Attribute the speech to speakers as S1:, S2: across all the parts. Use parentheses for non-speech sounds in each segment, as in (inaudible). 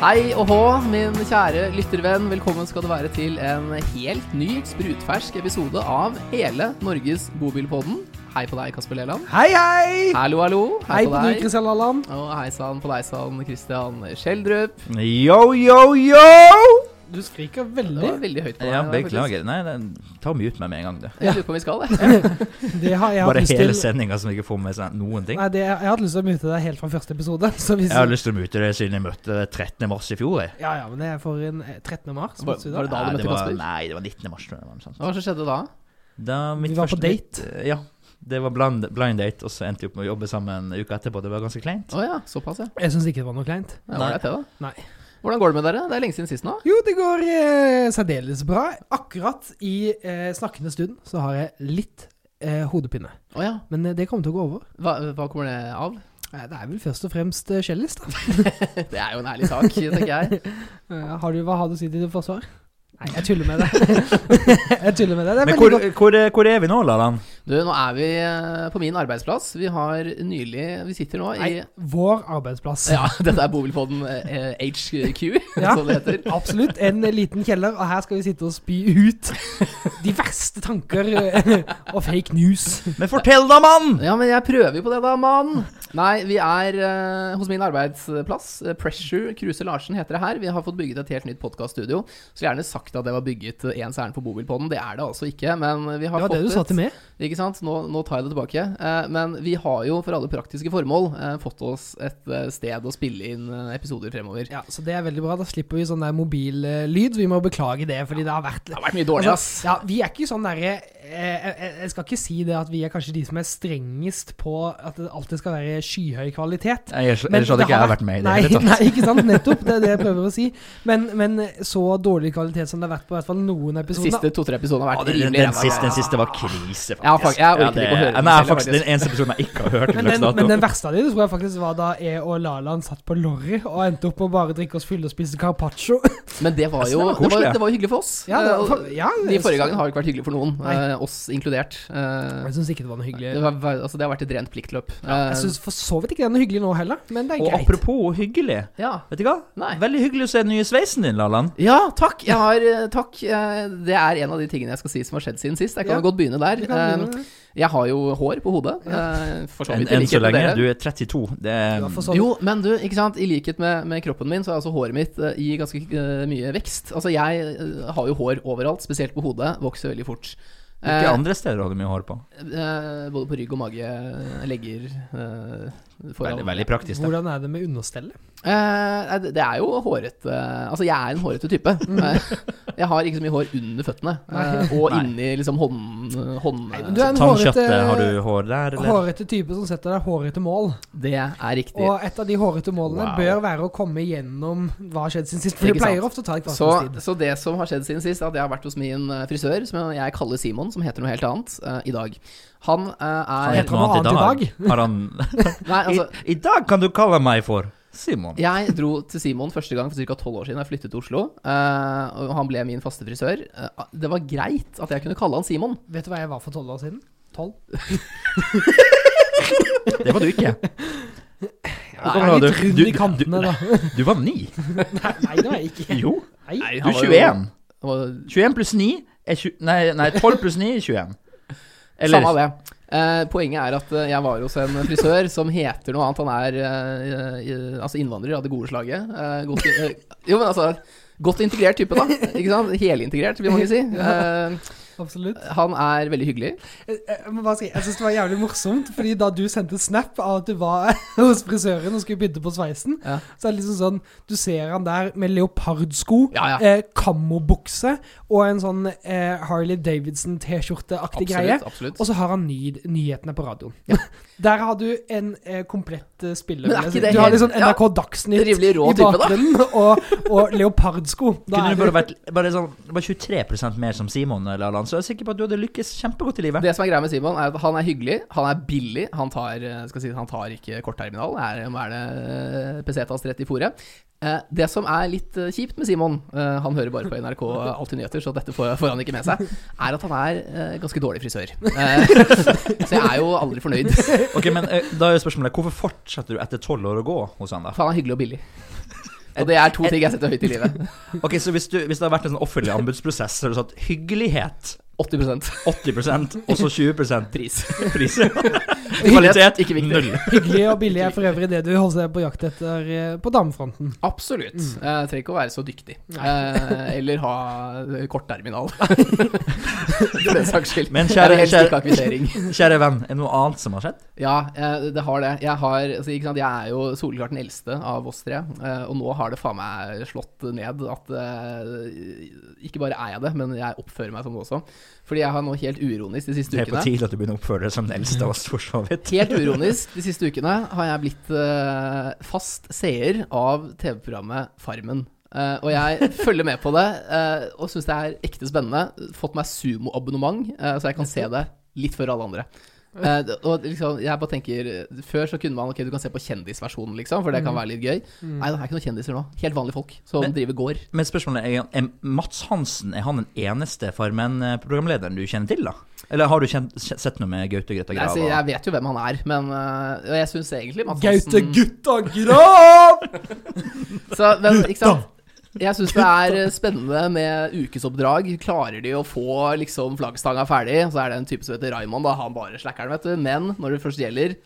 S1: Hei og hå, min kjære lyttervenn. Velkommen skal du være til en helt ny, sprutfersk episode av hele Norges bobilpodden. Hei på deg, Kasper Leland.
S2: Hei, hei!
S1: Hallo, hallo.
S2: Hei på deg, Kristian Lalland.
S1: Og hei sann på deg sann, Christian Schjelderup.
S3: Yo, yo, yo!
S2: Du skriker
S1: Det var
S2: veldig.
S1: veldig høyt på deg.
S3: Ja,
S1: der,
S3: beklager. Nei, den tar mye ut med meg en gang, det.
S1: faktisk. Jeg lurer på om vi skal det.
S2: Det har jeg hatt
S3: Bare
S2: lyst
S3: hele
S2: til.
S3: sendinga som ikke får med seg noen ting.
S2: Nei, det, jeg har hatt lyst til å mute deg helt fra første episode. (laughs) Så hvis,
S3: Jeg har lyst til å mute det siden jeg møtte deg 13. mars i fjor. Jeg.
S2: Ja, ja, men det er for en eh, 13. mars.
S1: Var,
S2: måtte du
S1: var det
S2: da?
S1: da du
S3: Nei, det
S1: møtte
S3: var-
S1: Kasper?
S3: Nei, det var 19. mars. tror jeg det var, noe sånt.
S1: Hva som skjedde da?
S3: Da
S2: Vi
S3: mitt
S2: var på
S3: første-
S2: date.
S3: mitt- Ja. Det var blind, blind date, og så endte vi opp med å jobbe sammen uka etterpå. Det var ganske kleint.
S1: Å ja, såpass, ja.
S2: Jeg syns ikke det var noe kleint.
S1: Det var
S3: Nei.
S1: greit, det, da.
S2: Nei.
S1: Hvordan går det med dere? Det er lenge siden sist nå.
S2: Jo, det går eh, særdeles bra. Akkurat i eh, snakkende stund så har jeg litt eh, hodepine.
S1: Å ja.
S2: Men eh, det kommer til å gå over.
S1: Hva, hva kommer det av? (laughs)
S2: Eh, Det er vel først og fremst eh, skjellis, da.
S1: Det er jo en ærlig sak, tenker jeg.
S2: Eh, Har du, hva har du å si til ditt forsvar? Nei, jeg tuller med deg. (laughs) jeg tuller med deg. Det er
S3: Men
S2: veldig
S3: hvor,
S2: godt.
S3: hvor, hvor er vi nå, Lalan?
S1: Du, nå er vi eh, på min arbeidsplass. Vi har nylig Vi sitter nå
S2: Nei,
S1: i
S2: vår arbeidsplass.
S1: Ja, (laughs) dette er Bobilpodden eh, HQ,
S2: (laughs) Ja.
S1: (laughs) som det heter.
S2: Absolutt. En liten kjeller, og her skal vi sitte og spy ut de verste tanker eh, og fake news.
S3: Men fortell da, mann!
S1: Ja, men jeg prøver jo på det, da, mann! Nei, vi er eh, hos min arbeidsplass. eh, Pressure Kruse Larsen heter det her. Vi har fått bygget et helt nytt podkaststudio. Skulle gjerne sagt at det var bygget eh, ens ærend for Bobilpodden. Det er det altså ikke, men vi har
S2: Det var det
S1: fått
S2: du sa til meg.
S1: Ikke sant? Nå, nå tar jeg det tilbake. Eh, men vi har jo for alle praktiske formål eh, fått oss et eh, sted å spille inn eh, episoder fremover.
S2: Ja, Så det er veldig bra. Da slipper vi sånn der mobillyd. Vi må beklage det, fordi det har vært
S1: Det har vært mye dårlig, ass.
S2: Altså, ja, vi er ikke sånn derre eh, jeg, jeg skal ikke si det at vi er kanskje de som er strengest på at det alltid skal være skyhøy kvalitet.
S3: Jeg
S2: Men
S3: skjønner ikke jeg har
S2: har
S3: vært med i det
S2: nei,
S3: hele tatt.
S2: (laughs) Nei, ikke sant. Nettopp. Det er det jeg prøver å si. Men, men så dårlig kvalitet som det har vært på i hvert fall noen
S1: De
S2: episoder.
S1: siste to-tre episodene har
S3: Ja,
S1: vært
S3: den, den,
S1: rimelig
S3: den,
S1: ræva.
S3: siste, den siste var krise, faktisk.
S1: Ja, fuck, jeg orker ikke å høre den
S3: den. Nei,
S1: selv,
S3: faktisk,
S1: faktisk.
S3: den eneste episoden jeg ikke har (laughs) hørt. til
S2: Men den,
S3: dags dato.
S2: men den verste av de det tror jeg faktisk var da jeg og Lalan satt på lorry og endte opp med å bare drikke oss fulle og spise carpaccio.
S1: Men det var
S3: Jeg synes
S1: jo
S3: det var
S1: det var,
S3: koselig, ja.
S1: det var jo hyggelig for oss.
S2: Ja, (laughs) det var
S1: Eh, og
S2: for- ja,
S1: de
S2: jeg-
S1: forrige gangene har jo ikke vært hyggelig for noen,
S2: Nei.
S1: eh, oss inkludert. Eh,
S2: Jeg syns ikke det var noe hyggelig.
S1: det, var, var- altså, det har vært et rent pliktløp. Eh,
S2: Jeg syns for så vidt ikke det er noe hyggelig nå heller, men det er
S3: Og
S2: greit.
S3: apropos hyggelig,
S1: ja.
S3: vet du hva?
S1: Nei.
S3: Veldig hyggelig å se den nye sveisen din, Lalan.
S1: ja, takk. Jeg har, eh, takk. Eh, Det er en av de tingene jeg skal si som har skjedd siden sist. Jeg kan
S2: Ja.
S1: jo godt begynne der.
S2: Vi kan begynne med det.
S1: Eh, Jeg har jo hår på hodet. eh, For så
S3: Enn
S1: vidt. i
S3: enn så
S1: likhet med
S3: lenge.
S1: dere.
S3: Du er 32. Det
S2: Du
S3: er,
S2: har for så vidt-
S1: Jo, men du, ikke sant. I likhet med, med kroppen min, så er altså håret mitt eh, i ganske eh, mye vekst. Altså, jeg eh, har jo hår overalt, spesielt på hodet. Vokser veldig fort. Eh,
S3: Hvilke andre steder har du mye hår på?
S1: Eh, både på rygg og mage, eh, legger eh, foran.
S3: Veldig, veldig praktisk. Da.
S2: Hvordan er det med understellet?
S1: Eh, nei, det- det er jo hårete Altså, jeg er en hårete type.
S2: (laughs) Mm.
S1: Eh, jeg har ikke så mye hår under føttene eh, og
S3: Nei.
S1: inni liksom hånd, hånd...
S2: Nei, men du er en
S3: Tannkjøttet,
S2: hårete-
S3: har du hår der, eller?
S2: Hårete type som setter deg hårete mål.
S1: Det er riktig.
S2: Og et av de hårete målene
S3: Wow.
S2: bør være å komme gjennom hva har skjedd siden sist. For
S1: Ikke
S2: det pleier
S1: sant.
S2: ofte å ta et
S1: Så,
S2: kvarters tid.
S1: så det som har skjedd siden sist, er at jeg har vært hos min eh, frisør, som jeg kaller Simon, som heter noe helt annet, eh, i dag. Han eh,
S3: Han
S1: er
S2: heter noe annet i
S3: Har han
S2: (laughs)
S3: (laughs)
S1: Nei,
S3: I,
S1: altså
S3: I dag kan du kalle meg for Simon.
S1: Jeg dro til Simon første gang for ca. tolv år siden. Jeg flyttet til Oslo. eh, og han ble min faste frisør. Eh, det var greit at jeg kunne kalle han Simon.
S2: Vet du hva jeg var for tolv år siden? Tolv?
S3: Det var du ikke.
S2: Jeg
S3: Nei,
S2: er
S3: du-
S2: litt rund
S3: du-
S2: i kantene,
S3: du-
S2: da. (laughs)
S3: Du var ni.
S2: Nei, nei, det var jeg ikke.
S3: Jo.
S2: Nei.
S3: Du er 21.
S1: Og,
S3: 21 pluss 9 er 20, nei, nei, 12 pluss 9 er 21. Eller
S1: Samme av det. Eh, poenget er at eh, jeg var hos en frisør som heter noe annet. Han er eh, eh, altså innvandrer av det gode slaget. Eh, godt, in- eh, jo, men altså Godt integrert type, da. Ikke sant? Helintegrert, vil mange si. (laughs) Eh,
S2: Absolutt.
S1: han er veldig hyggelig.
S2: Jeg, jeg, må bare si, jeg syns det var jævlig morsomt, fordi da du sendte snap av at du var (laughs) hos frisøren og skulle bytte på sveisen,
S1: Ja.
S2: så er det liksom sånn Du ser han der med leopardsko,
S1: Ja, ja.
S2: eh, kammobukse og en sånn eh, Harley Davidson-T-skjorte-aktig greie.
S1: Absolutt. absolutt.
S2: Og så har han ny, nyhetene på radioen. (laughs) Der har du en eh, komplett eh, spiller.
S1: Men er ikke
S2: vil jeg si.
S1: det
S2: Du har
S1: helt-
S2: liksom NRK Dagsnytt
S1: Rimelig rå
S2: i
S1: type, da.
S2: bakgrunnen, og, og leopardsko. Da
S3: kunne
S2: er
S3: du bare vært bare sånn, bare 23 mer som Simon, Lalan, så jeg er sikker på at du hadde lykkes kjempegodt i livet.
S1: Det som er greia med Simon, er at han er hyggelig, han er billig, han tar, eh, skal si, han tar ikke kortterminal, er, hva er det eh, pesetas rett i fòret. Eh, Det som er litt eh, kjipt med Simon, eh, han hører bare på NRK Alltid Nyheter, så dette får, får han ikke med seg, er at han er eh, ganske dårlig frisør. Eh, Så jeg er jo aldri fornøyd, for
S3: Ok, men eh, da er jo spørsmålet Hvorfor fortsetter du etter tolv år å gå hos han da?
S1: han er hyggelig og billig. Og det er to ting jeg setter høyt i livet.
S3: Ok, så hvis, du, hvis det har vært en sånn offentlig anbudsprosess, så har du satt hyggelighet
S1: 80
S3: 80 og så 20
S1: pris.
S3: pris.
S1: Kvalitet, ikke viktig.
S3: Null.
S2: Hyggelig og
S1: (laughs)
S2: billig er for øvrig det du holder deg på jakt etter eh, på damefronten.
S1: Absolutt.
S2: Mm.
S1: Eh, trenger ikke å være så dyktig. Eh, eller ha eh, kortterminal. For den saks skyld.
S3: Men
S1: Jeg vil
S3: kjære,
S1: helst ikke ha
S3: kjære,
S1: kvittering.
S3: kjære venn, er det noe annet som har skjedd?
S1: Ja, eh, det har det. Jeg, har, altså, ikke sant? jeg er jo soleklart den eldste av oss tre. eh, Og nå har det faen meg slått ned at eh, Ikke bare er jeg det, men jeg oppfører meg som det også. Fordi jeg har nå helt uironisk de siste
S3: Det er på
S1: ukene
S3: tide at du begynner å oppføre deg som den eldste av oss, for så vidt.
S1: Helt uironisk de siste ukene har jeg blitt eh, fast seer av TV-programmet Farmen. Eh, og jeg følger med på det eh, og syns det er ekte spennende. Fått meg sumoabonnement, eh, så jeg kan se det litt før alle andre. Eh, det- og liksom, jeg bare tenker eh, Før så kunne man Ok, du kan se på kjendisversjonen, liksom, for det kan være litt gøy.
S2: Mm.
S1: Nei, det er ikke noen kjendiser nå. Helt vanlige folk som
S3: Mm. Men-
S1: driver gård.
S3: Men spørsmålet er, er Mats Hansen er han den eneste Farmen-programlederen du kjenner til, da? Eller har du kjent, sett noe med Gaute Grøtta
S1: Nei, så
S3: Grava?
S1: jeg vet jo hvem han er, men eh, Og jeg syns egentlig Mads
S2: Gaute
S1: Hansen-
S2: gutta grav!
S1: Så, men, ikke sant? Jeg syns det er eh, spennende med ukesoppdrag. Klarer de å få liksom flaggstanga ferdig, så er det en type som heter Raymond. Da han bare slacker den, vet du. Men når det først gjelder,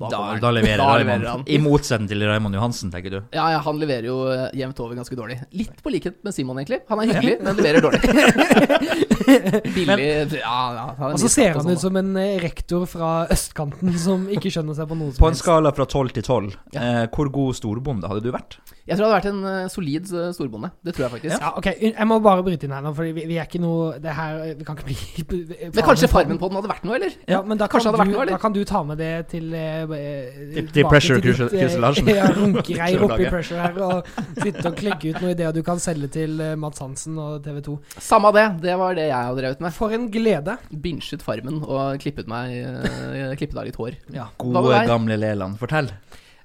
S3: Da,
S1: da er-
S3: da leverer
S1: (laughs) da leverer han.
S3: Raymond. I motsetning til Raymond Johansen, tenker du.
S1: ja, ja, han leverer jo eh, jevnt over ganske dårlig. Litt på likhet med Simon, egentlig. Han er hyggelig, men leverer dårlig.
S2: (laughs)
S1: Billig Ja, ja. Han er mye
S2: Og så Altså, ser
S1: skatt og
S2: han ut
S1: sånn,
S2: som en eh, rektor fra østkanten (laughs) som ikke skjønner seg på noe
S3: På
S2: som
S3: en
S2: helst.
S3: skala fra tolv til tolv, eh, hvor god storbonde hadde du vært?
S1: da. Jeg tror han hadde vært en eh, solid eh, storbonde. Det tror jeg faktisk.
S2: Ja, ok, Jeg må bare bryte inn her nå, for vi, vi er ikke noe det her, Vi kan ikke bli (laughs)
S1: Men kanskje farmen på den hadde vært noe, eller?
S2: Ja, men da kan,
S1: Kanskje det hadde vært
S2: du,
S1: noe, eller?
S2: da kan du ta med det til eh, eh,
S3: Til- til
S2: tilbake
S3: pressure
S2: ditt,
S3: kurset-
S2: eh,
S3: kurselasjen.
S2: (laughs) Ja, Runkereir oppi
S3: Kurslaget.
S2: pressure her og sitte og klegge ut noen ideer du kan selge til eh, Mads Hansen og TV 2.
S1: Samme det. Det var det jeg hadde drevet med.
S2: For en glede.
S1: Binchet farmen og klippet, meg, eh, klippet av litt hår. Hva med
S3: Gode,
S1: deg?
S3: gamle Leland, fortell.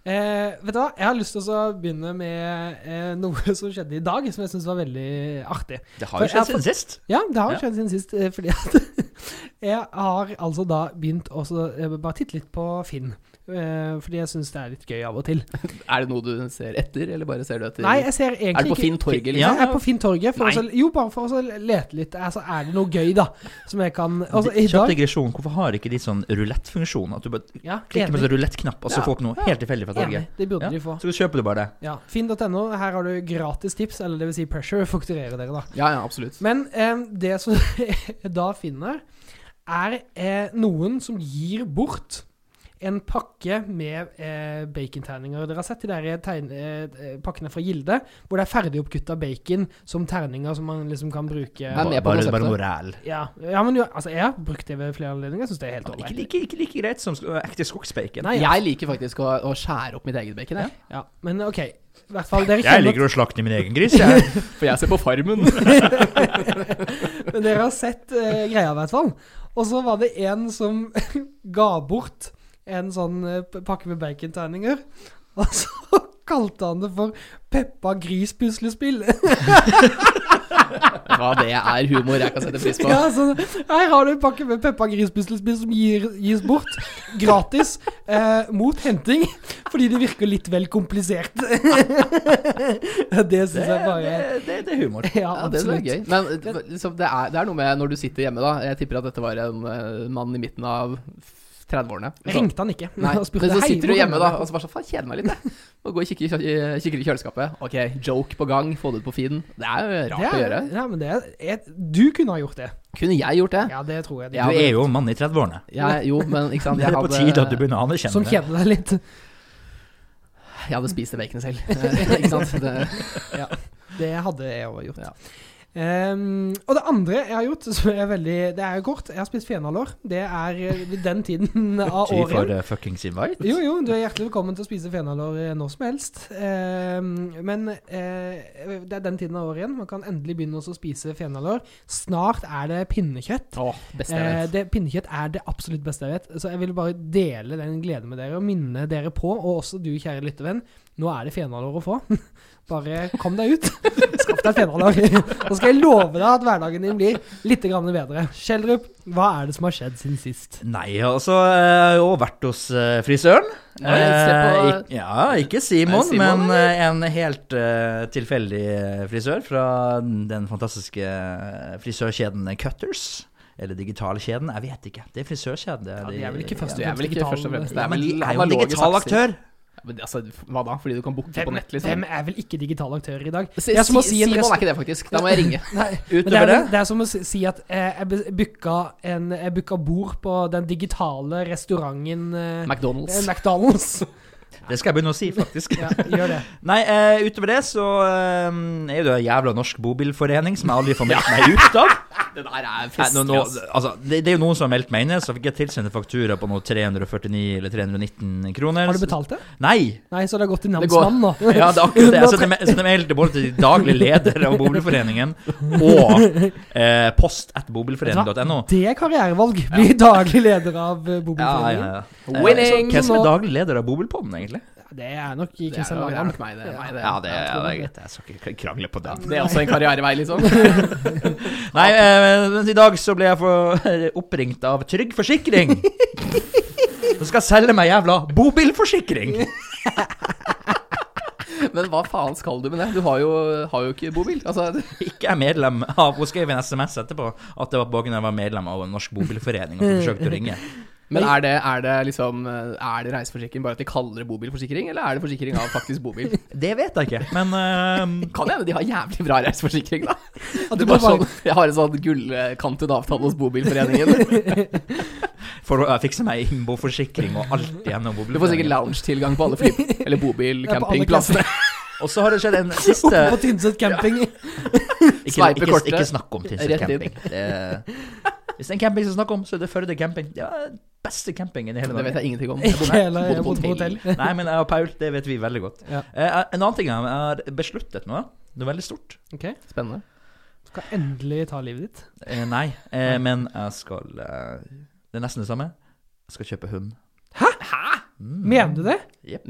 S2: Eh, vet du hva, jeg har lyst til å så begynne med eh, noe (laughs) som skjedde i dag, som jeg syns var veldig artig.
S3: Det
S2: For
S3: har jo
S2: jeg
S3: skjedd siden sist.
S2: Ja, det har
S3: Ja.
S2: jo skjedd siden sist, eh, fordi at (laughs) jeg har altså da begynt å så, eh, bare titte litt på Finn. Eh, fordi jeg syns det er litt gøy av og til.
S1: Er det noe du ser etter, eller bare ser du etter
S2: Nei, jeg ser
S1: Er det
S2: egentlig
S1: på
S2: ikke
S1: Finn Torget,
S3: Ja.
S1: liksom?
S2: Jeg er på Finn torget. For
S3: Nei.
S2: å så- jo, bare for å så lete litt. Altså, er det noe gøy, da? Som jeg kan altså, i
S3: Kjapp
S2: dag,
S3: digresjon, hvorfor har ikke de sånn rulettfunksjon? At du bare
S2: ja,
S3: klikker på
S2: enig,
S3: sånn rulett-knapp, og så
S1: Ja.
S3: får du noe helt tilfeldig fra
S2: enig,
S3: torget?
S2: det burde
S3: Ja.
S2: de få.
S3: Så kjøper du bare det.
S2: Ja, Finn.no, her har du gratis tips, eller det vil si pressure. (laughs) Fakturere dere, da.
S1: Ja, ja, absolutt.
S2: Men eh, det som (laughs) jeg da finner, er eh, noen som gir bort en pakke med eh, baconterninger. Dere har sett de der tegn- eh, pakkene fra Gilde, hvor det er ferdigoppkutta bacon som terninger som man liksom kan bruke.
S1: er med på
S3: bare,
S1: konseptet.
S3: bare noe ræl.
S2: Ja, ja men jo, altså, jeg har brukt det ved flere anledninger. Jeg syns det er helt
S3: Ikke,
S2: ålreit.
S3: like- ikke like greit som sk- ekte skogsbacon.
S2: Nei,
S1: Jeg liker faktisk å, å skjære opp mitt eget bacon, jeg.
S2: Ja, men OK. I hvert fall, dere
S3: Jeg
S2: kjenner
S3: liker å slakte min egen gris, jeg.
S1: For jeg ser på Farmen.
S2: Men dere har sett eh, greia, i hvert fall. Og så var det en som (laughs) ga bort en sånn eh, p- pakke med baconterninger. Og (laughs) så kalte han det for Peppa (laughs) Gris-puslespill.
S1: (laughs) Ja, det er humor jeg kan sette pris på.
S2: Ja, så her har du en pakke med Peppa Gris-puslespill som gir, gis bort gratis eh, mot henting. Fordi det virker litt vel komplisert. (laughs) det syns
S3: Det,
S2: jeg bare
S3: det, det, det er humor.
S2: Ja,
S1: Ja, det er
S2: absolutt.
S1: gøy. Men eh, liksom, det, er, det er noe med når du sitter hjemme, da. Jeg tipper at dette var en eh, mann i midten av 30-årene. Så-
S2: Ringte (laughs) han ikke.
S1: Nei,
S2: og spurte,
S1: men så
S2: «Hei,
S1: sitter du
S2: hvordan
S1: hjemme
S2: er
S1: da
S2: det?»
S1: og så bare sånn Faen, kjeder meg litt, jeg. Og går og kikker, i kjø- i- kikker i kjøleskapet. Ok, joke på gang, få det ut på feeden. Det er jo rart
S2: Det
S1: å
S2: er-
S1: gjøre.
S2: Ja, men det er, et- du kunne ha gjort det.
S1: Kunne jeg gjort det?
S2: Ja, det tror jeg. Du,
S1: Ja,
S3: Du
S1: men-
S3: er jo en mann i 30-årene.
S1: Jeg, jo, men ikke sant
S3: (laughs) Det er
S1: jeg
S3: på
S1: hadde-
S3: tide at du begynner å
S2: som
S3: anerkjenne det.
S2: kjeder deg litt.
S1: Jeg hadde spist det baconet selv. (laughs) Eh, ikke sant? Det,
S2: Det hadde jeg også gjort.
S1: Ja.
S2: Ehm, og det andre jeg har gjort, (laughs) som er veldig Det er jo kort. Jeg har spist fenalår. Det er eh, den
S1: (laughs)
S2: tiden av
S3: Tid
S2: året.
S3: for eh, fuckings invite.
S2: Jo, jo, du er hjertelig velkommen til å spise fenalår eh, når som helst. Ehm, men eh, det er den tiden av året igjen. Man kan endelig begynne også å spise fenalår. Snart er det pinnekjøtt.
S1: Åh, beste jeg
S2: Eh,
S1: vet.
S2: det, pinnekjøtt er det absolutt beste jeg vet, så jeg vil bare dele den gleden med dere og minne dere på, (laughs) og også du kjære lyttervenn, nå er det fenalår (laughs) å få. Bare kom deg ut. (laughs) Skaff Det er tjenere, Nå skal jeg love deg at hverdagen din blir litt grann bedre. Schjelderup, hva er det som har skjedd siden sist?
S3: Nei, altså Jeg har jo vært hos eh, frisøren.
S1: Nei, se på-
S3: Eh, ik- ja, ikke Simon,
S1: Er det Simon,
S3: men eh, en helt eh, tilfeldig eh, frisør fra den fantastiske eh, frisørkjeden Cutters. Eller digitalkjeden, jeg vet ikke. Det er frisørkjede.
S2: Ja, de er vel ikke først-
S1: Altså, Du er vel ikke
S2: Digital-
S1: først og fremst
S3: Ja, men de er jo en
S1: analoge
S3: digital
S1: satser.
S3: aktør.
S1: Ja, men altså, hva da? Fordi du kan booke på
S2: Hvem,
S1: nett, liksom?
S2: hvem er vel ikke digital aktør i dag?
S1: Si-
S2: Jeg må
S1: si-
S2: si en
S1: Simon
S2: rest-
S1: er ikke det, faktisk. Da må jeg (laughs) ringe.
S2: Nei, men det,
S3: Utover
S2: er,
S3: det?
S2: vel- det er som å si- si at eh, jeg be- booka en- jeg booka bord på den digitale restauranten eh,
S1: McDonald's.
S2: eh, McDonald's.
S1: (laughs)
S3: Det skal jeg begynne å si, faktisk.
S2: Ja, gjør det.
S3: Nei, eh, utover det så eh, er jo det en jævla norsk bobilforening som jeg aldri får meldt meg ut av.
S1: Det der er
S3: Nei, nå, nå,
S1: ass.
S3: altså, det, det er jo noen som har meldt meg inn, så fikk jeg tilsendt en faktura på noe 349 eller 319 kroner.
S2: Har du betalt det?
S3: Nei!
S2: Nei, så det har gått til
S1: Det går-
S2: namsmannen
S1: (laughs)
S2: nå.
S3: Ja, det er akkurat det. Jeg sendte me- sendte mail til både til daglig leder av Bobilforeningen og eh, post at bobilforeningen.no.
S2: Det er karrierevalg. Bli daglig leder av eh,
S3: Ja,
S2: Bobilforeningen.
S3: ja,
S2: Ja,
S3: ja. Eh,
S1: Winning!
S3: Hvem som er daglig leder av Bobilpodden, egentlig?
S2: Det er nok
S1: Det er
S2: Kristian
S1: nok- det er
S2: Lagan.
S1: nok meg, det. er meg, det.
S3: Ja, det,
S2: jeg
S3: ja,
S2: tror
S3: det er
S2: det.
S3: greit. Jeg skal ikke krangle på det.
S1: Det er også en karrierevei, liksom.
S3: Nei, eh, men i dag så ble jeg for, (laughs) oppringt av Trygg Forsikring. Som skal selge meg jævla bobilforsikring!
S1: (laughs) Men hva faen skal du med det? Du har jo, har jo ikke bobil. Altså,
S3: Ikke er medlem av Hun skrev en SMS etterpå at det var på grunn av at jeg var medlem av en norsk bobilforening og forsøkte å ringe.
S1: men er det, er det liksom Er det reiseforsikring bare at de kaller det bobilforsikring, eller er det forsikring av faktisk
S2: (laughs)
S1: bobil?
S3: Det vet jeg ikke, men eh,
S1: Kan hende de har jævlig bra reiseforsikring, da.
S2: At
S1: Du
S2: du
S1: bare
S2: bare-
S1: sånn, jeg har en sånn gullkantet avtale hos Bobilforeningen.
S3: For å eh, fikse meg innboforsikring og alt gjennom
S1: Du får sikkert
S3: bobilforeningen.
S1: lounge-tilgang på alle fly... Eller
S2: Ja, på alle
S1: bobilcampingplassene.
S3: Og så har det skjedd en siste
S1: (laughs)
S2: Oppe på Tynset camping.
S3: Ikke,
S1: Sveipe
S3: ikke,
S1: kortet.
S3: ikke snakk om Tynset
S1: Rett inn.
S3: camping. Det, hvis det er en camping som snakker om, så er det Førde camping. Det er den beste campingen i hele
S1: Det vet
S3: Norge.
S1: jeg ingenting om. Jeg
S2: Ikke heller.
S1: bodde-
S2: (laughs) Jeg bodde på hotell.
S3: Nei, men jeg og Paul, det vet vi veldig godt.
S2: Ja.
S3: Eh, en annen ting jeg har besluttet nå, noe veldig stort.
S2: Ok,
S1: Spennende.
S2: Skal endelig ta livet ditt.
S1: Mm.
S3: Eh, nei, eh, men jeg skal eh, Det er nesten det samme. Jeg skal kjøpe hund. Mm.
S2: Mener du det?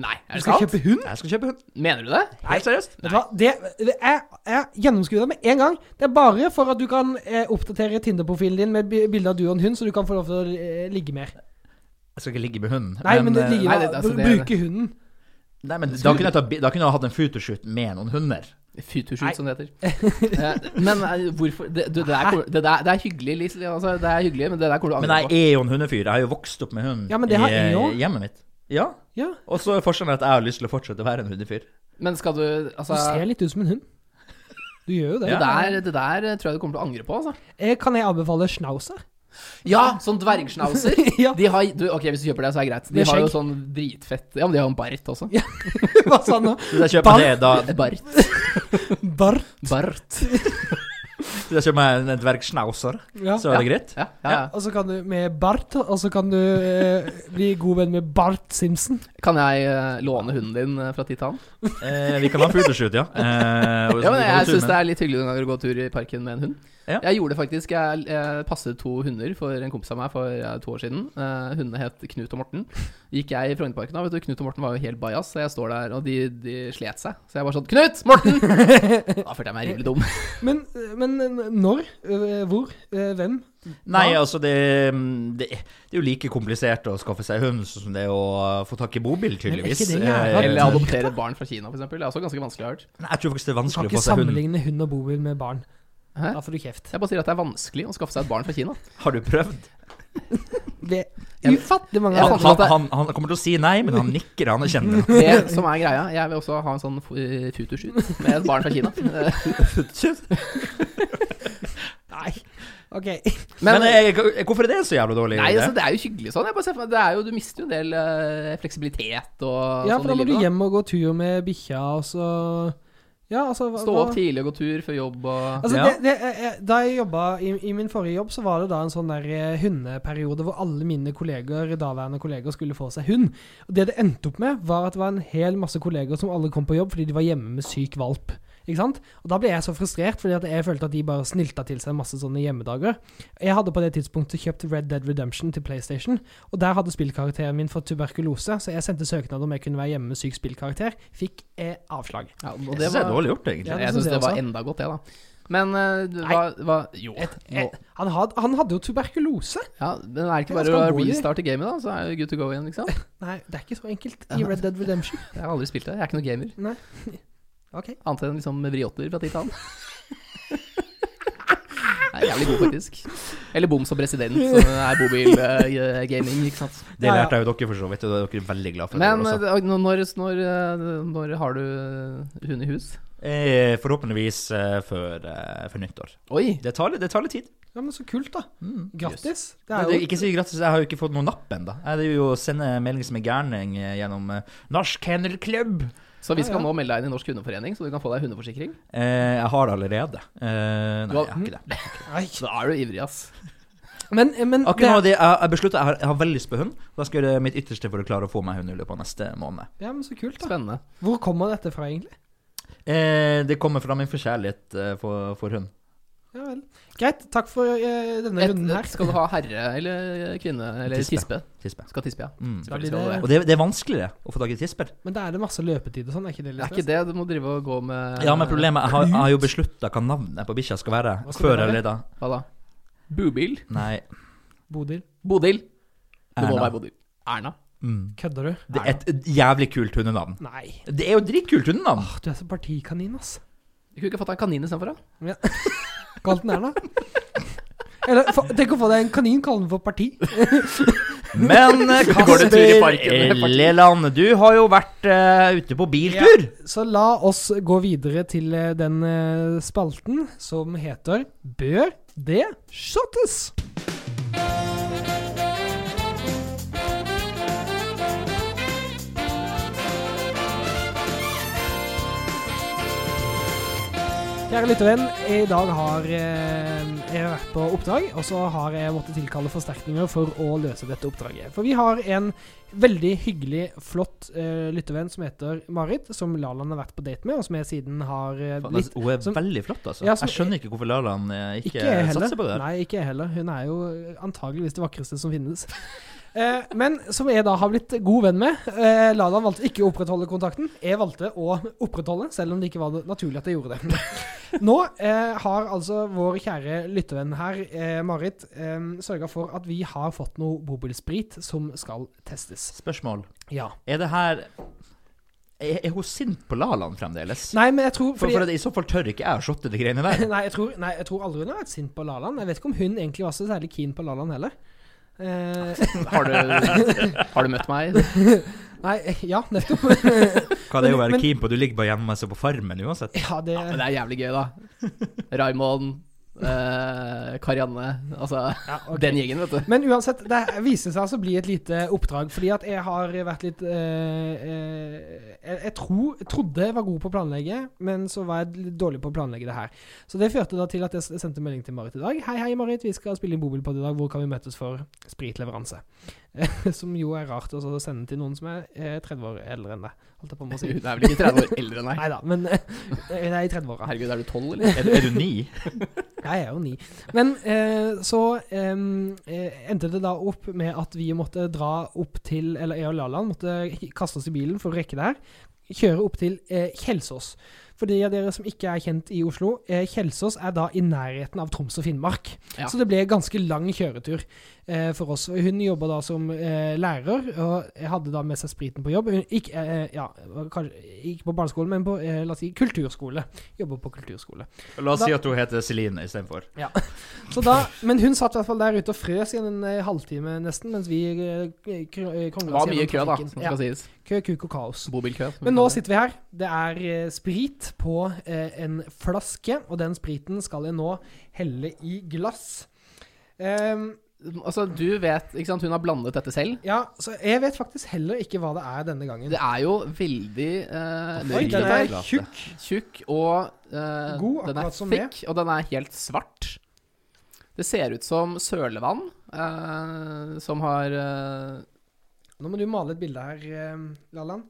S1: Nei, er
S2: Du
S1: det
S2: skal
S1: sant?
S2: kjøpe hund?
S3: Jeg skal kjøpe hund.
S1: Mener du det?
S3: Helt seriøst.
S2: Vet du hva? Det, det er, er gjennomskuet med en gang. Det er bare for at du kan eh, oppdatere Tinder-profilen din med bi- bilde av du og en hund, så du kan få lov til å eh, ligge mer.
S3: Jeg skal ikke ligge med hunden.
S2: Nei, men, det
S3: eh,
S2: ligger,
S1: nei, det- altså, det-
S2: bruke hunden.
S3: nei, men da, kunne jeg ta, bi- da kunne jeg hatt en photoshoot med noen hunder.
S1: Futushoot, som det heter. (laughs) Eh, Men eh, hvorfor Det, du, det, er, kor- det, der- det er hyggelig, Lise. Altså, det er hyggelig, men det der kommer du til å
S3: Men
S1: angre
S3: jeg
S1: på.
S3: er jo en hundefyr. Jeg har jo vokst opp med hund
S2: Ja, men det har jeg jo.
S3: i eh, hjemmet mitt. Ja,
S2: Ja,
S3: Og så er forskjellen at jeg har lyst til å fortsette å være en hundefyr.
S1: Men skal du
S2: du
S1: Altså
S2: ser litt ut som en hund. Du gjør jo det.
S1: det der, det der eh, tror jeg du kommer til å angre på, altså.
S2: Eh, Kan jeg anbefale schnauzer?
S1: Ja, sånn dvergschnauzer.
S2: (laughs) ja,
S1: De har, du, ok, Hvis du kjøper det, så er det greit. De
S2: Med
S1: har jo
S2: skjegg.
S1: sånn dritfett Ja, men de har jo en bart også.
S2: (laughs) hva sa han nå?
S3: Hvis jeg kjøper det, da
S1: Bart.
S2: Barr.
S1: Bart.
S3: Hvis jeg kjøper meg en dvergschnauzer,
S2: Ja.
S3: så er det greit?
S1: Ja, ja,
S2: Ja,
S1: ja.
S2: og så kan du med Bart, og så kan du eh, bli god venn med Bart Simpson.
S1: Kan jeg eh, låne hunden din eh, fra tid til annen?
S3: Eh, vi kan ha en (laughs) photoshoot, ja. Eh, og-
S1: Ja, men jeg syns
S3: men-
S1: det er litt hyggelig noen ganger å gå tur i parken med en hund.
S3: Ja.
S1: Jeg gjorde det faktisk. Jeg, jeg passet to hunder for en kompis av meg for eh, to år siden. Eh, hundene het Knut og Morten. Gikk jeg i Frognerparken da, vet du. Knut og Morten var jo helt bajas, så jeg står der, og de, de slet seg. Så jeg var sånn Knut! (laughs) Morten! da følte jeg meg rimelig dum.
S2: Men, men eh, når? eh, Hvor? eh, Hvem?
S3: Nei,
S2: Ja.
S3: altså, det, mm, det, det er jo like komplisert å skaffe seg hund som det er å få tak i bobil,
S2: Men er ikke
S3: tydeligvis. Eh,
S2: det jævla-
S1: Eller
S3: Eller,
S2: adop-
S1: adoptere et barn fra Kina, f.eks. Det er også ganske vanskelig, har jeg hørt.
S3: Nei, jeg tror faktisk det er
S2: Du kan
S3: vanskelig å
S2: ikke
S3: få seg hund.
S2: sammenligne hund og bobil med barn.
S1: Hæ?
S2: Da får du kjeft.
S1: Jeg bare sier at det er vanskelig å skaffe seg et barn fra
S2: (laughs)
S1: Kina.
S3: Har du prøvd?
S2: Det er ufattelig mange
S1: Ja,
S3: Han,
S2: av
S1: fant ut at
S3: han,
S1: det-
S3: han, han kommer til å si nei, men han nikker, han
S2: (laughs)
S3: erkjenner det.
S1: Det som er greia Jeg vil også ha en sånn eh, photoshoot med et barn fra
S2: (laughs)
S1: Kina. Eh,
S2: Nei. Ok.
S3: Men, eh, hvorfor er det så jævla dårlig?
S1: Nei,
S3: idé?
S1: altså, det er jo hyggelig sånn. Jeg bare ser for meg, det er jo, Du mister jo en del eh, fleksibilitet og
S2: Ja,
S1: sånn
S2: for da
S1: i
S2: må du
S1: livet, da.
S2: hjem og gå tur med bikkja, og så Ja, altså hva-
S1: Stå
S2: hva-
S1: opp tidlig og gå tur før jobb og
S2: Altså,
S3: Ja.
S2: det, det, eh, eh, da jeg jobba i, i min forrige jobb, så var det da en sånn der eh, hundeperiode hvor alle mine kolleger, daværende kolleger skulle få seg hund. Og Det det endte opp med, var at det var en hel masse kolleger som alle kom på jobb fordi de var hjemme med syk valp. Ikke sant? Og da ble jeg så frustrert, fordi at jeg følte at de bare snylta til seg masse sånne hjemmedager. Jeg hadde på det tidspunktet kjøpt Red Dead Redemption til PlayStation, og der hadde spillkarakteren min fått tuberkulose, så jeg sendte søknad om jeg kunne være hjemme med syk spillkarakter. Fikk eh, avslag.
S1: Ja, og
S3: Det, synes jeg er dårlig gjort, egentlig.
S2: Ja, det
S1: jeg
S2: synes
S1: syns
S2: jeg
S1: det var
S2: også.
S1: enda godt, det, da. Men eh, du- hva, hva Jo.
S2: Et,
S1: nå-
S2: et, Eh, han, had, han hadde jo tuberkulose!
S1: Ja, men er det ikke
S2: Det
S1: bare
S2: er
S1: å
S2: ganske alvorlig.
S1: restarte gamet, da? Så er det good to go igjen, liksom.
S2: Nei, det er ikke så enkelt i Red Dead Redemption.
S1: Jeg har aldri spilt det. Jeg er ikke noen gamer.
S2: Ok.
S1: Annet enn liksom vriotter fra tid til annen. (laughs) Jeg er jævlig god, faktisk. Eller bom som president, som er bobilgaming, ikke sant.
S3: Det
S2: Ja, ja.
S3: lærte jeg jo dere, for så vidt, og det er dere veldig glad for.
S1: Men
S3: dere også.
S1: eh, når, når, når- når har du eh, hund i hus?
S3: Eh, forhåpentligvis eh, før, eh, før nyttår.
S1: Oi!
S3: Det tar, litt- det tar litt tid.
S2: Ja, men så kult, da.
S3: Mm.
S2: Grattis. Det
S3: Nei,
S2: er
S3: det,
S2: jo
S3: ikke si gratis, jeg har jo ikke fått noen napp ennå. Det er jo å sende melding som en gærning eh, gjennom eh, Norsk Kennel Club.
S1: Så vi
S2: Ja,
S1: skal
S2: ja.
S1: nå melde deg inn i Norsk hundeforening, så du kan få deg hundeforsikring.
S3: Eh, jeg har det allerede. Eh, nei,
S1: Du har-
S3: jeg har ikke det.
S2: Nei.
S1: Så da er du ivrig, ass.
S2: Men, men det,
S3: Akkurat nå, er det, jeg, jeg besluttet, jeg har, jeg har veldig lyst på hund. og Da skal jeg gjøre mitt ytterste for å klare å få meg hund i løpet av neste måned.
S2: ja, men så kult, da.
S1: Spennende.
S2: Hvor kommer dette fra, egentlig?
S3: Eh, det kommer fra min forkjærlighet eh, for, for hund.
S2: Ja vel. Greit. Takk for eh, denne
S1: Et,
S2: runden her.
S1: skal du ha herre eller kvinne eller
S3: Tispe.
S1: tispe?
S3: Tispe.
S1: Skal tispe, ja.
S3: Mm.
S2: Da
S1: Selvfølgelig
S2: blir
S1: skal du det.
S3: Og det, det er vanskeligere å få tak i tisper.
S2: Men da er det masse løpetid og sånn, er ikke det
S1: Det
S2: litt
S1: er ikke
S2: stress?
S1: det du må drive og gå med
S3: Ja, men problemet Jeg har, jeg har jo beslutta hva navnet på bikkja skal være.
S2: Hva skal det
S3: Før
S2: være?
S3: eller da.
S1: Hva da? Bubil?
S3: Nei,
S2: Bodil,
S1: Bodil? Det må
S3: Erna.
S1: være Bodil. Erna.
S3: Mm.
S2: kødder du?
S3: Det er et jævlig kult hundenavn.
S2: Nei.
S3: Det er jo dritkult hundenavn!
S2: Åh, du er så partikanin, ass.
S1: Du kunne ikke fått deg en kanin istedenfor, da?
S2: Kall den Erna. (laughs) Eller fa- tenk å få deg en kanin, kall den for parti.
S3: Men eh,
S1: Går det tur i parken?
S3: Kasper Elleland, du har jo vært eh, ute på biltur.
S2: Så la oss gå videre til eh, den eh, spalten som heter Bør det shottes? Kjære lyttervenn, i dag har eh, jeg vært på oppdrag, og så har jeg måttet tilkalle forsterkninger for å løse dette oppdraget. For vi har en veldig hyggelig, flott eh, lyttervenn som heter Marit, som Lalan har vært på date med, og som jeg siden har eh,
S3: Faen,
S2: blitt
S3: altså, Hun er
S2: som-
S3: veldig flott, altså.
S2: Ja, som-
S3: jeg skjønner ikke hvorfor Lalan eh, ikke,
S2: ikke jeg heller.
S3: satser på det. der.
S2: Nei, ikke jeg heller. Hun er jo antageligvis det vakreste som finnes. Eh, men som jeg da har blitt god venn med. Eh, Ladan valgte ikke å opprettholde kontakten. Jeg valgte å opprettholde, selv om det ikke var naturlig at jeg gjorde det. (laughs) Nå eh, har altså vår kjære lyttervenn her, eh, Marit, eh, sørga for at vi har fått noe bobilsprit som skal testes.
S3: Spørsmål.
S2: Ja.
S3: Er det her Er, er hun sint på Lalan fremdeles?
S2: Nei, men jeg tror
S3: For, for at I så fall tør ikke jeg å shotte de greiene der.
S2: (laughs) nei, jeg tror, nei, jeg tror aldri hun har vært sint på Lalan. Jeg vet ikke om hun egentlig var så særlig keen på Lalan heller. Eh,
S1: Har du, har du møtt meg?
S2: nei, (laughs) ja, nettopp.
S3: Hva det er å
S2: Men-
S3: være keen på? Du ligger bare hjemme og ser på Farmen uansett.
S2: Ja, det
S1: Ja, men det er jævlig gøy, da. Raymond, eh, Karianne Altså
S2: ja, ok.
S1: den gjengen, vet du.
S2: Men uansett, det viste seg altså å bli et lite oppdrag, fordi at jeg har vært litt eh, eh, Jeg, jeg tror- jeg trodde jeg var god på å planlegge, men så var jeg litt dårlig på å planlegge det her. Så det førte da til at jeg s- sendte melding til Marit i dag. Hei, hei, Marit, vi skal spille inn Bobilpod i dag. Hvor kan vi møtes for spritleveranse? (laughs) som jo er rart også å sende til noen som er eh, 30 år eldre enn deg, holdt jeg på med å si.
S1: Hun er vel ikke 30 år eldre enn deg?
S2: Nei da, men (laughs) eh, hun er i 30-åra.
S1: Herregud, er du 12, eller?
S3: Er, er du ni?
S2: Jeg er jo ni. Men eh, så eh, eh, endte det da opp med at vi måtte dra opp til Eller jeg og Lalan måtte kaste oss i bilen for å rekke det her. Kjøre opp til eh, Kjelsås. For de av dere som ikke er kjent i Oslo, eh, Kjelsås er da i nærheten av Troms og Finnmark.
S1: Ja.
S2: Så det ble ganske lang kjøretur eh, for oss. Hun jobba da som eh, lærer, og hadde da med seg spriten på jobb. Hun gikk, eh, ja, kanskje, ikke på barneskole, men på eh, la oss si, kulturskole. Jobber på kulturskole.
S3: (laughs) La oss
S2: Da-
S3: si at hun heter Celine istedenfor.
S2: Så da, men hun satt i hvert fall der ute og frøs i en eh, halvtime nesten, mens vi eh, kr- eh,
S1: Det
S2: krongla
S1: var mye kø, da, som
S2: Ja,
S1: skal sies.
S2: kø, kuk og kaos.
S1: Bobilkø. som vi
S2: Men nå
S1: kaller det.
S2: sitter vi her. Det er eh, sprit på eh, en flaske, og den spriten skal jeg nå helle i glass. Ehm,
S1: Altså, du vet Ikke sant, hun har blandet dette selv.
S2: ja, så jeg vet faktisk heller ikke hva det er denne gangen.
S1: Det er jo veldig eh,
S2: Oi, den
S1: rillete.
S2: er tjukk.
S1: tjukk og eh,
S2: God,
S1: den er
S2: akkurat som
S1: thick, og den er helt svart. Det ser ut som sølevann eh, som har eh,
S2: Nå må du male et bilde her, eh, Lallan.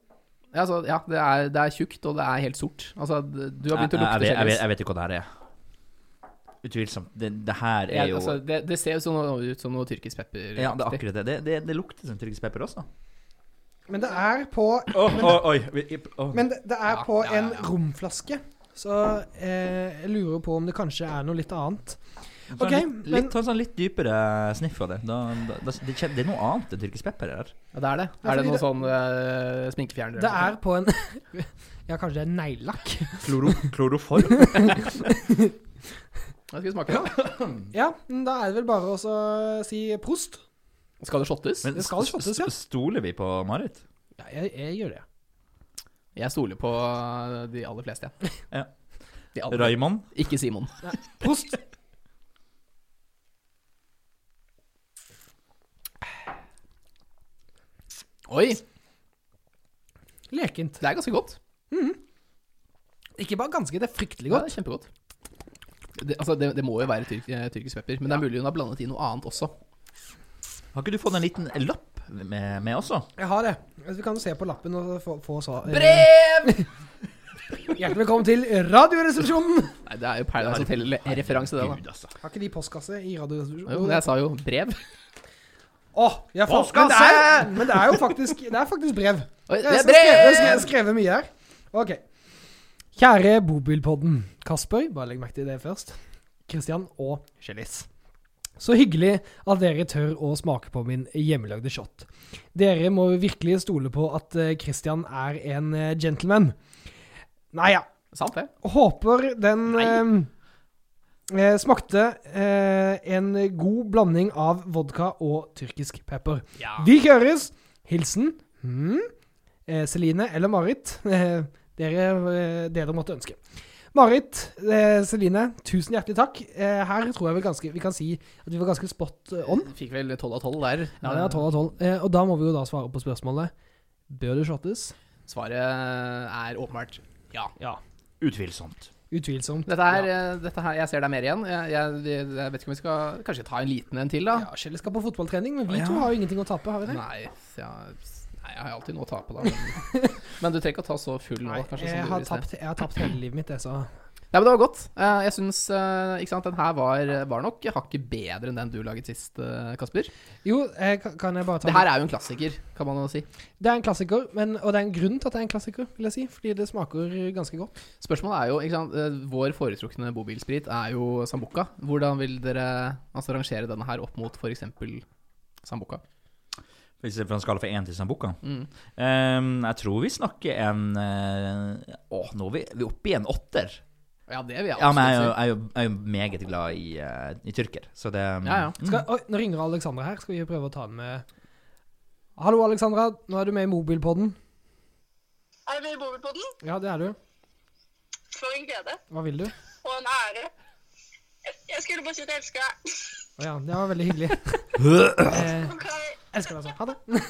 S1: Ja, altså, ja det, er, det er tjukt, og det er helt sort. Altså, d- du har begynt å
S3: Jeg-
S1: lukte
S3: jeg vet- jeg vet-
S1: skjegg.
S3: Jeg vet ikke hva det her er. Utvilsomt. Det, det her
S1: Ja,
S3: er jo
S1: altså, det, det ser jo sånn ut som noe tyrkisk pepper.
S3: Ja, det er akkurat det. Det, det, det lukter som tyrkisk pepper også.
S2: Men det er på,
S3: oi, oi.
S2: men det, det er
S1: Ja,
S2: på
S1: ja, ja,
S2: en
S1: ja.
S2: romflaske. Så eh, jeg lurer på om det kanskje er noe litt annet. ok,
S3: litt,
S2: men-
S3: litt, ta en sånn litt dypere sniff av det. Da, da, da, det, kjen- det er noe annet enn tyrkisk pepper her.
S1: Ja, det er det. Er
S2: Ja,
S1: det
S2: fordi
S1: noe
S2: det-
S1: sånn eh, sminkefjerner?
S2: Det er på en (laughs) Ja, kanskje det er neglelakk.
S3: (laughs) kloroform?
S1: Jeg skal vi smake det.
S2: Ja, men da er det vel bare å så si prost.
S1: Skal det shottes?
S3: Men
S2: Det skal
S3: s-
S2: shottes, ja.
S3: s- Stoler vi på Marit?
S2: Ja, jeg, jeg gjør det.
S1: Jeg stoler på eh, de aller fleste, jeg.
S3: Ja.
S1: De aller.
S3: Raymond?
S1: Ikke Simon. (laughs)
S2: Prost.
S1: Oi,
S2: Lekent.
S1: det er ganske godt.
S2: Ikke bare ganske, det er fryktelig
S1: Ja,
S2: godt.
S1: det er kjempegodt. Det, altså, det, det må jo være tyrk, eh, tyrkisk pepper, men det er mulig hun har blandet i noe annet også.
S3: Har ikke du fått en liten lapp med, med også?
S2: Jeg har det. Altså, vi kan jo se på lappen og få, få svar.
S1: Brev!
S2: Hjertelig velkommen til
S1: (laughs)
S2: Radioresepsjonen!
S1: Nei, det er jo Paradise Hotel-referanse, det, da.
S3: Gud, altså.
S2: Har ikke de postkasse i
S1: Jo, men
S2: Radioresepsjonen?
S1: jeg sa jo brev.
S2: Å, ja, faen. Men, det er- men det er jo faktisk Det er faktisk brev.
S1: Oi,
S2: Jeg har skrevet, skrevet, skrevet mye her. Ok. Kjære Bobilpodden. Kasper, bare legg merke til det først. Kristian og Kjellis. Så hyggelig at dere tør å smake på min hjemmelagde shot. Dere må virkelig stole på at eh, Kristian er en eh, gentleman. Nei ja.
S1: Sant, det.
S2: Håper den eh, eh, smakte eh, en god blanding av vodka og tyrkisk pepper.
S1: Ja.
S2: Vi høres! Hilsen hmm, eh, Celine eller Marit. (laughs) Eh, dere, eh, det dere måtte ønske. Marit, eh, Celine, tusen hjertelig takk. Eh, her tror jeg vel ganske, vi kan si at vi var ganske spot eh, on.
S1: Fikk vel 12 av 12 der.
S2: Ja, det er 12 av 12. Eh, og da må vi jo da svare på spørsmålet. Bør det shottes?
S1: Svaret er åpenbart ja.
S2: Ja.
S3: Utvilsomt.
S2: Utvilsomt.
S1: Dette her, eh, dette her, jeg ser det er mer igjen. Jeg, jeg, jeg vet ikke om vi skal Kanskje ta en liten en til, da?
S2: Ja, Kjell skal på fotballtrening, men vi
S3: Å, ja.
S2: to har jo ingenting å tape, har vi det?
S1: Nei, ja, nei, jeg har alltid noe å tape, da. Men, (laughs) men du trenger ikke å ta så full nå, kanskje.
S2: jeg,
S1: som du
S2: har
S1: gjorde i sted.
S2: tapt, jeg har tapt hele livet mitt, jeg, så
S1: Nei, men det var godt. Eh, Jeg syns Ikke sant, den her var, var nok hakket bedre enn den du laget sist, eh, Kasper.
S2: Jo, eh, ka- kan jeg bare ta
S1: Det her er jo en klassiker, kan man jo si.
S2: Det er en klassiker, men, og det er en grunn til at det er en klassiker, vil jeg si. Fordi det smaker ganske godt.
S1: Spørsmålet er jo ikke sant, eh, Vår foretrukne bobilsprit er jo Sambuca. Hvordan vil dere altså, rangere denne her opp mot f.eks. Sambuca?
S3: Hvis det er fra en skala fra 1 til Sambuca.
S1: Mm.
S3: Ehm, jeg tror vi snakker en eh, Å, nå er vi, vi er oppe i en åtter.
S1: Ja, det vil jeg
S3: Ja, men jeg er jo,
S1: absolutt si.
S3: jeg er jo, jeg er jo meget glad i, eh, i tyrker, så det
S1: Ja, ja.
S3: Mm.
S2: Skal, oi, nå ringer Alexandra her. Skal vi prøve å ta den med Hallo, Alexandra. Nå er du med i mobilpodden.
S4: Er vi i Bobilpodden?
S2: Ja, det er du.
S4: For en glede
S2: Hva vil du?
S4: og en ære. Jeg- Jeg skulle bare si at jeg elsker deg.
S2: Å ja, det var veldig hyggelig. (laughs) Eh,
S4: Ok,
S2: elsker deg også. Ha det.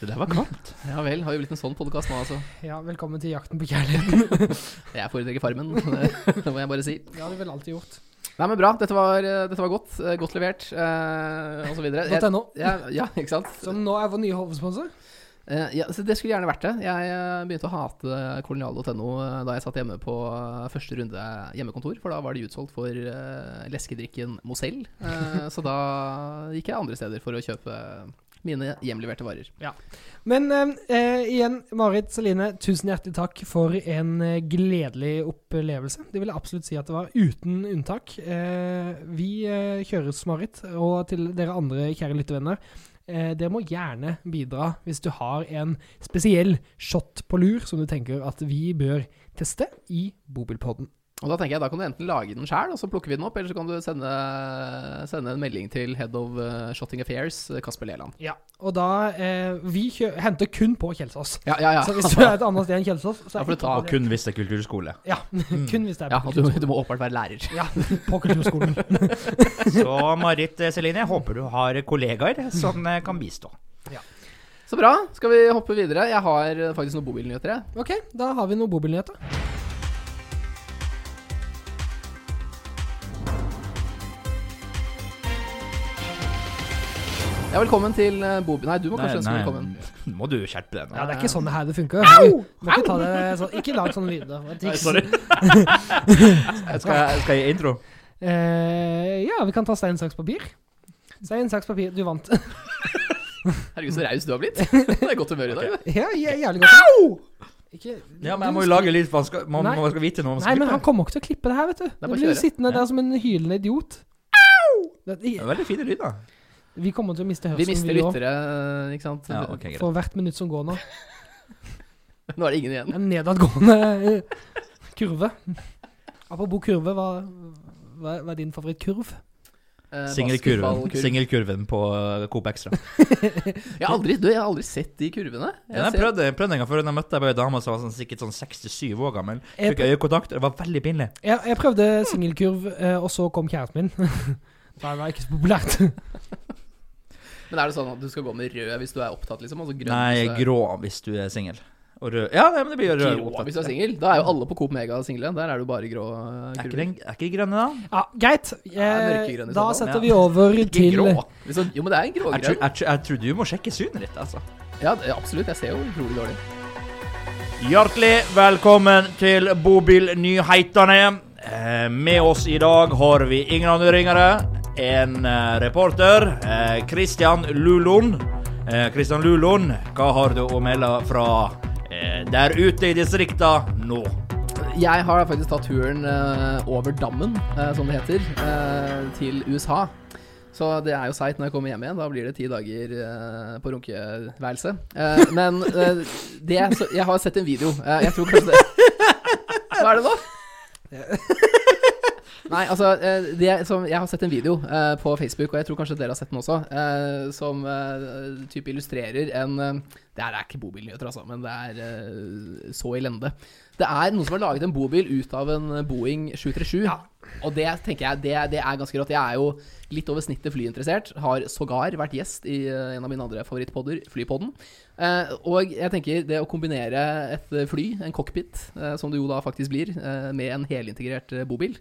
S3: Det der var kaldt.
S1: ja vel. Har jo blitt en sånn podkast nå, altså.
S2: Ja, velkommen til Jakten på kjærligheten.
S1: Jeg foretrekker Farmen, (laughs) det må jeg bare si.
S2: Det har du vel alltid gjort.
S1: Nei, men bra. Dette var, eh, dette var godt. eh, Godt levert, eh, og så videre. Jeg-
S2: .no,
S1: Ja, ja, ikke sant?
S2: som nå er vår nye hovedsponsor.
S1: Eh, ja, så det skulle gjerne vært det. Jeg eh, begynte å hate kolonial.no eh, da jeg satt hjemme på eh, første runde hjemmekontor, for da var de utsolgt for eh, leskedrikken Mozell. Eh, så da gikk jeg andre steder for å kjøpe mine hjemleverte varer.
S2: Men eh, eh, igjen, Marit Celine, tusen hjertelig takk for en eh, gledelig opplevelse. Det vil jeg absolutt si at det var, uten unntak. Eh, vi eh, kjøres, Marit, og til dere andre kjære lyttevenner. Eh, dere må gjerne bidra hvis du har en spesiell shot på lur som du tenker at vi bør teste i Bobilpodden.
S1: Og da tenker jeg, da kan du enten lage den sjæl, og så plukker vi den opp, eller så kan du sende, sende en melding til head of eh, Shotting Affairs, eh, Kasper Leland.
S2: Ja. Og da eh, Vi kjø henter kun på Kjelsås.
S1: Ja, ja, ja.
S2: Så hvis du er et annet sted enn Kjelsås, så
S1: Da
S2: er
S1: får du
S2: ikke
S1: ta
S3: Og
S2: på det.
S3: kun hvis det er kulturskole.
S2: Ja, (laughs) kun hvis det er
S1: ja,
S2: på
S1: du,
S2: kulturskolen.
S1: du må åpenbart være lærer.
S2: Ja, på kulturskolen.
S3: Så Marit eh, Celine, jeg håper du har kollegaer som eh, kan bistå.
S1: Så bra. Skal vi hoppe videre? Jeg har eh, faktisk noen bobilnyheter, jeg.
S2: Ok, da har vi noen bobilnyheter.
S1: Ja, Ja, velkommen til eh, Bob... Nei, du må kanskje ønske
S3: Nei,
S1: velkommen.
S3: Nå må du skjerpe deg.
S2: Ja,
S3: nå.
S2: det er ikke sånn det her det funker. Au! Må ikke, ta det sånn. ikke lag sånne lyder. Det er
S3: Nei,
S2: ikke-
S3: Sorry. skal, jeg, skal jeg gi intro?
S2: Eh, ja, vi kan ta stein, saks, papir. Stein, saks, papir. Du vant. (laughs)
S1: Herregud, så raus du har blitt. Det er godt humør i dag. du.
S2: ja, jæ- jævlig godt. Au! Ikke
S3: Ja, men jeg må jo lage lyd, for man skal, man,
S2: Nei.
S3: man skal vite når man
S2: Nei,
S3: skal
S2: men
S3: klippe.
S2: han kommer ikke til å klippe det her, vet du.
S1: er
S2: Du
S1: bare å
S2: blir
S1: kjøre.
S2: sittende der som en hylende idiot. Det-
S3: Det
S2: i-
S3: er veldig fine lyd, da.
S2: Vi kommer til å miste hørselen,
S1: Vi mister
S2: også,
S1: lyttere, ikke sant.
S3: Ja, ok, greit.
S2: for hvert minutt som går nå.
S1: Nå er det ingen igjen.
S2: En nedadgående eh, kurve. Apropos kurve, hva, hva, hva er din favorittkurv?
S1: Eh,
S3: Singelkurven
S1: basketballkurv.
S3: Singelkurven på eh, Coop
S1: (laughs)
S3: Extra.
S1: Jeg har aldri, du, jeg har aldri sett de kurvene.
S3: Ja,
S1: Jeg
S3: jeg prøvde, jeg prøvde en gang før da jeg møtte jeg bare ei dame som var sånn, sikkert sånn 67 år gammel.
S2: Jeg
S3: Fikk øyekontakt, og det var veldig pinlig.
S2: Jeg, jeg prøvde singelkurv, eh, og så kom kjæresten min. (laughs) Da var det ikke så populært.
S1: ser- Men er det sånn at du skal gå med rød hvis du er opptatt, liksom? Og så grønn
S3: Nei,
S1: hvis du er-
S3: grå hvis du er singel. Og rød Ja, nei, men det blir jo rød.
S1: grå
S3: opptatt.
S1: hvis du er singel? Da er jo alle på Coop Mega single. Der er du bare grå eh,
S3: Er ikke
S1: kurver.
S3: den er ikke de grønne, da?
S2: Ja, Greit.
S1: Ja,
S2: Eh,
S1: mørkegrønn i
S2: da
S1: så fall.
S2: setter
S3: Ja.
S2: vi over
S3: Ikke
S2: til
S3: grå.
S1: Litt sånn- jo, men det er en
S3: Jeg tror,
S1: grågrønn.
S3: jeg, tror- jeg tror du må sjekke synet ditt, altså.
S1: Ja, det- absolutt. Jeg ser jo utrolig dårlig.
S3: Hjertelig velkommen til Bobilnyhetene. Eh, Med oss i dag har vi ingen andre ringere enn eh, reporter eh, Christian Lulon. Eh, Christian Lulon, hva har du å melde fra eh, der ute i distrikta nå?
S1: Jeg har faktisk tatt turen eh, over dammen, eh, som det heter, eh, til USA. Så det er jo seigt når jeg kommer hjem igjen. Da blir det ti dager eh, på runkeværelse. Eh, men eh, det så, Jeg har sett en video. Eh, jeg tror kanskje det Hva er det nå? Nei, altså eh, det som, Jeg har sett en video eh, på Facebook, og jeg tror kanskje dere har sett den også, eh, som eh, type illustrerer en eh, Det her er ikke bobilnyheter, altså, men det er eh, så elende. Det er noen som har laget en bobil ut av en Boeing 737. Og det tenker jeg, det, det er ganske rått. Jeg er jo litt over snittet flyinteressert. Har sågar vært gjest i eh, en av mine andre favorittpodder, Flypodden. Eh, og jeg tenker det å kombinere et eh, fly, en cockpit, eh, som det jo da faktisk blir, eh, med en helintegrert eh, bobil,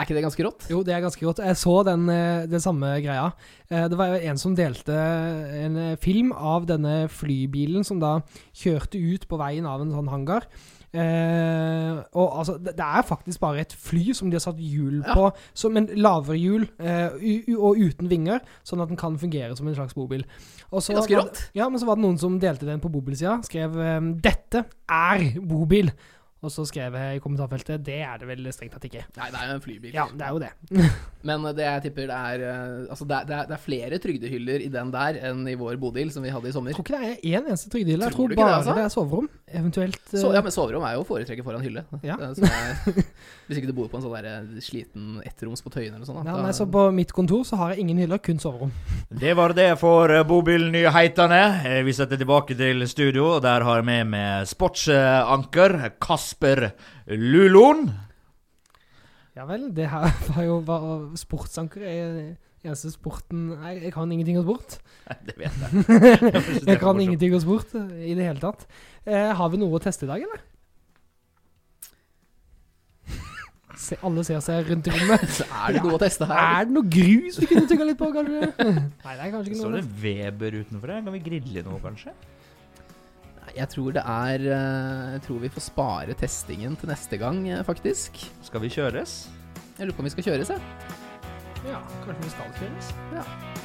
S1: er ikke det ganske rått?
S2: Jo, det er ganske godt. Jeg så den, eh, den samme greia. Eh, Det var jo en som delte en eh, film av denne flybilen som da kjørte ut på veien av en sånn hangar. Eh, og altså, det, det er faktisk bare et fly som de har satt hjul
S1: Ja.
S2: på, som en lavere hjul, eh, u, u, og uten vinger, sånn at den kan fungere som en slags bobil. Og så
S1: Ganske
S2: var-
S1: rått.
S2: Ja, men så var det noen som delte den på bobilsida, skrev eh, 'Dette er bobil'. Og så skrev jeg i kommentarfeltet 'Det er det vel strengt tatt ikke'.
S1: Nei, det er jo en flybil.
S2: Ja, det er jo det.
S1: Men det jeg tipper det er eh, Altså, det er, det er, det er flere trygdehyller i den der enn i vår bodil som vi hadde i sommer.
S2: Jeg tror ikke det er én eneste trygdehylle. Jeg
S1: Tror
S2: tror
S1: du ikke
S2: bare
S1: det,
S2: det,
S1: altså?
S2: er soverom. Eventuelt eh,
S1: Så, ja, men soverom er jo å foretrekke foran hylle.
S2: Ja.
S1: Eh, Så jeg, (laughs) hvis ikke du bor på en sånn der sliten ettroms på Tøyen eller noe sånt. da.
S2: ja, nei, så På mitt kontor så har jeg ingen hyller, kun soverom.
S3: Det var det for eh, Bobilnyhetene. Eh, Vi setter tilbake til studio, og der har jeg med meg sportsanker Kasper Lulon.
S2: Ja vel, det her (laughs) var jo var sportsanker. Jeg, eneste sporten Nei, jeg kan ingenting om sport.
S3: (laughs) Det vet jeg. synes det
S2: Jeg
S3: var
S2: kan
S3: morsomt.
S2: ingenting om sport eh, i det hele tatt. Eh, har vi noe å teste i dag, (laughs) eller? Se, alle ser seg rundt i (laughs) rommet.
S1: Så er det noe å teste her.
S2: Er det noe grus vi kunne tygga litt på, (laughs) kanskje? Nei, det er kanskje ikke
S3: Står
S2: noe.
S3: det Weber utenfor her? Kan vi grille noe, kanskje?
S1: Nei, Jeg tror det er eh, Jeg tror vi får spare testingen til neste gang, eh, faktisk.
S3: Skal vi kjøres?
S1: Jeg lurer på om vi skal kjøres, jeg.
S2: Ja, kanskje vi skal kjøres?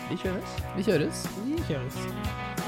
S3: Vi kjøres.
S1: Vi kjøres.
S2: Vi kjøres.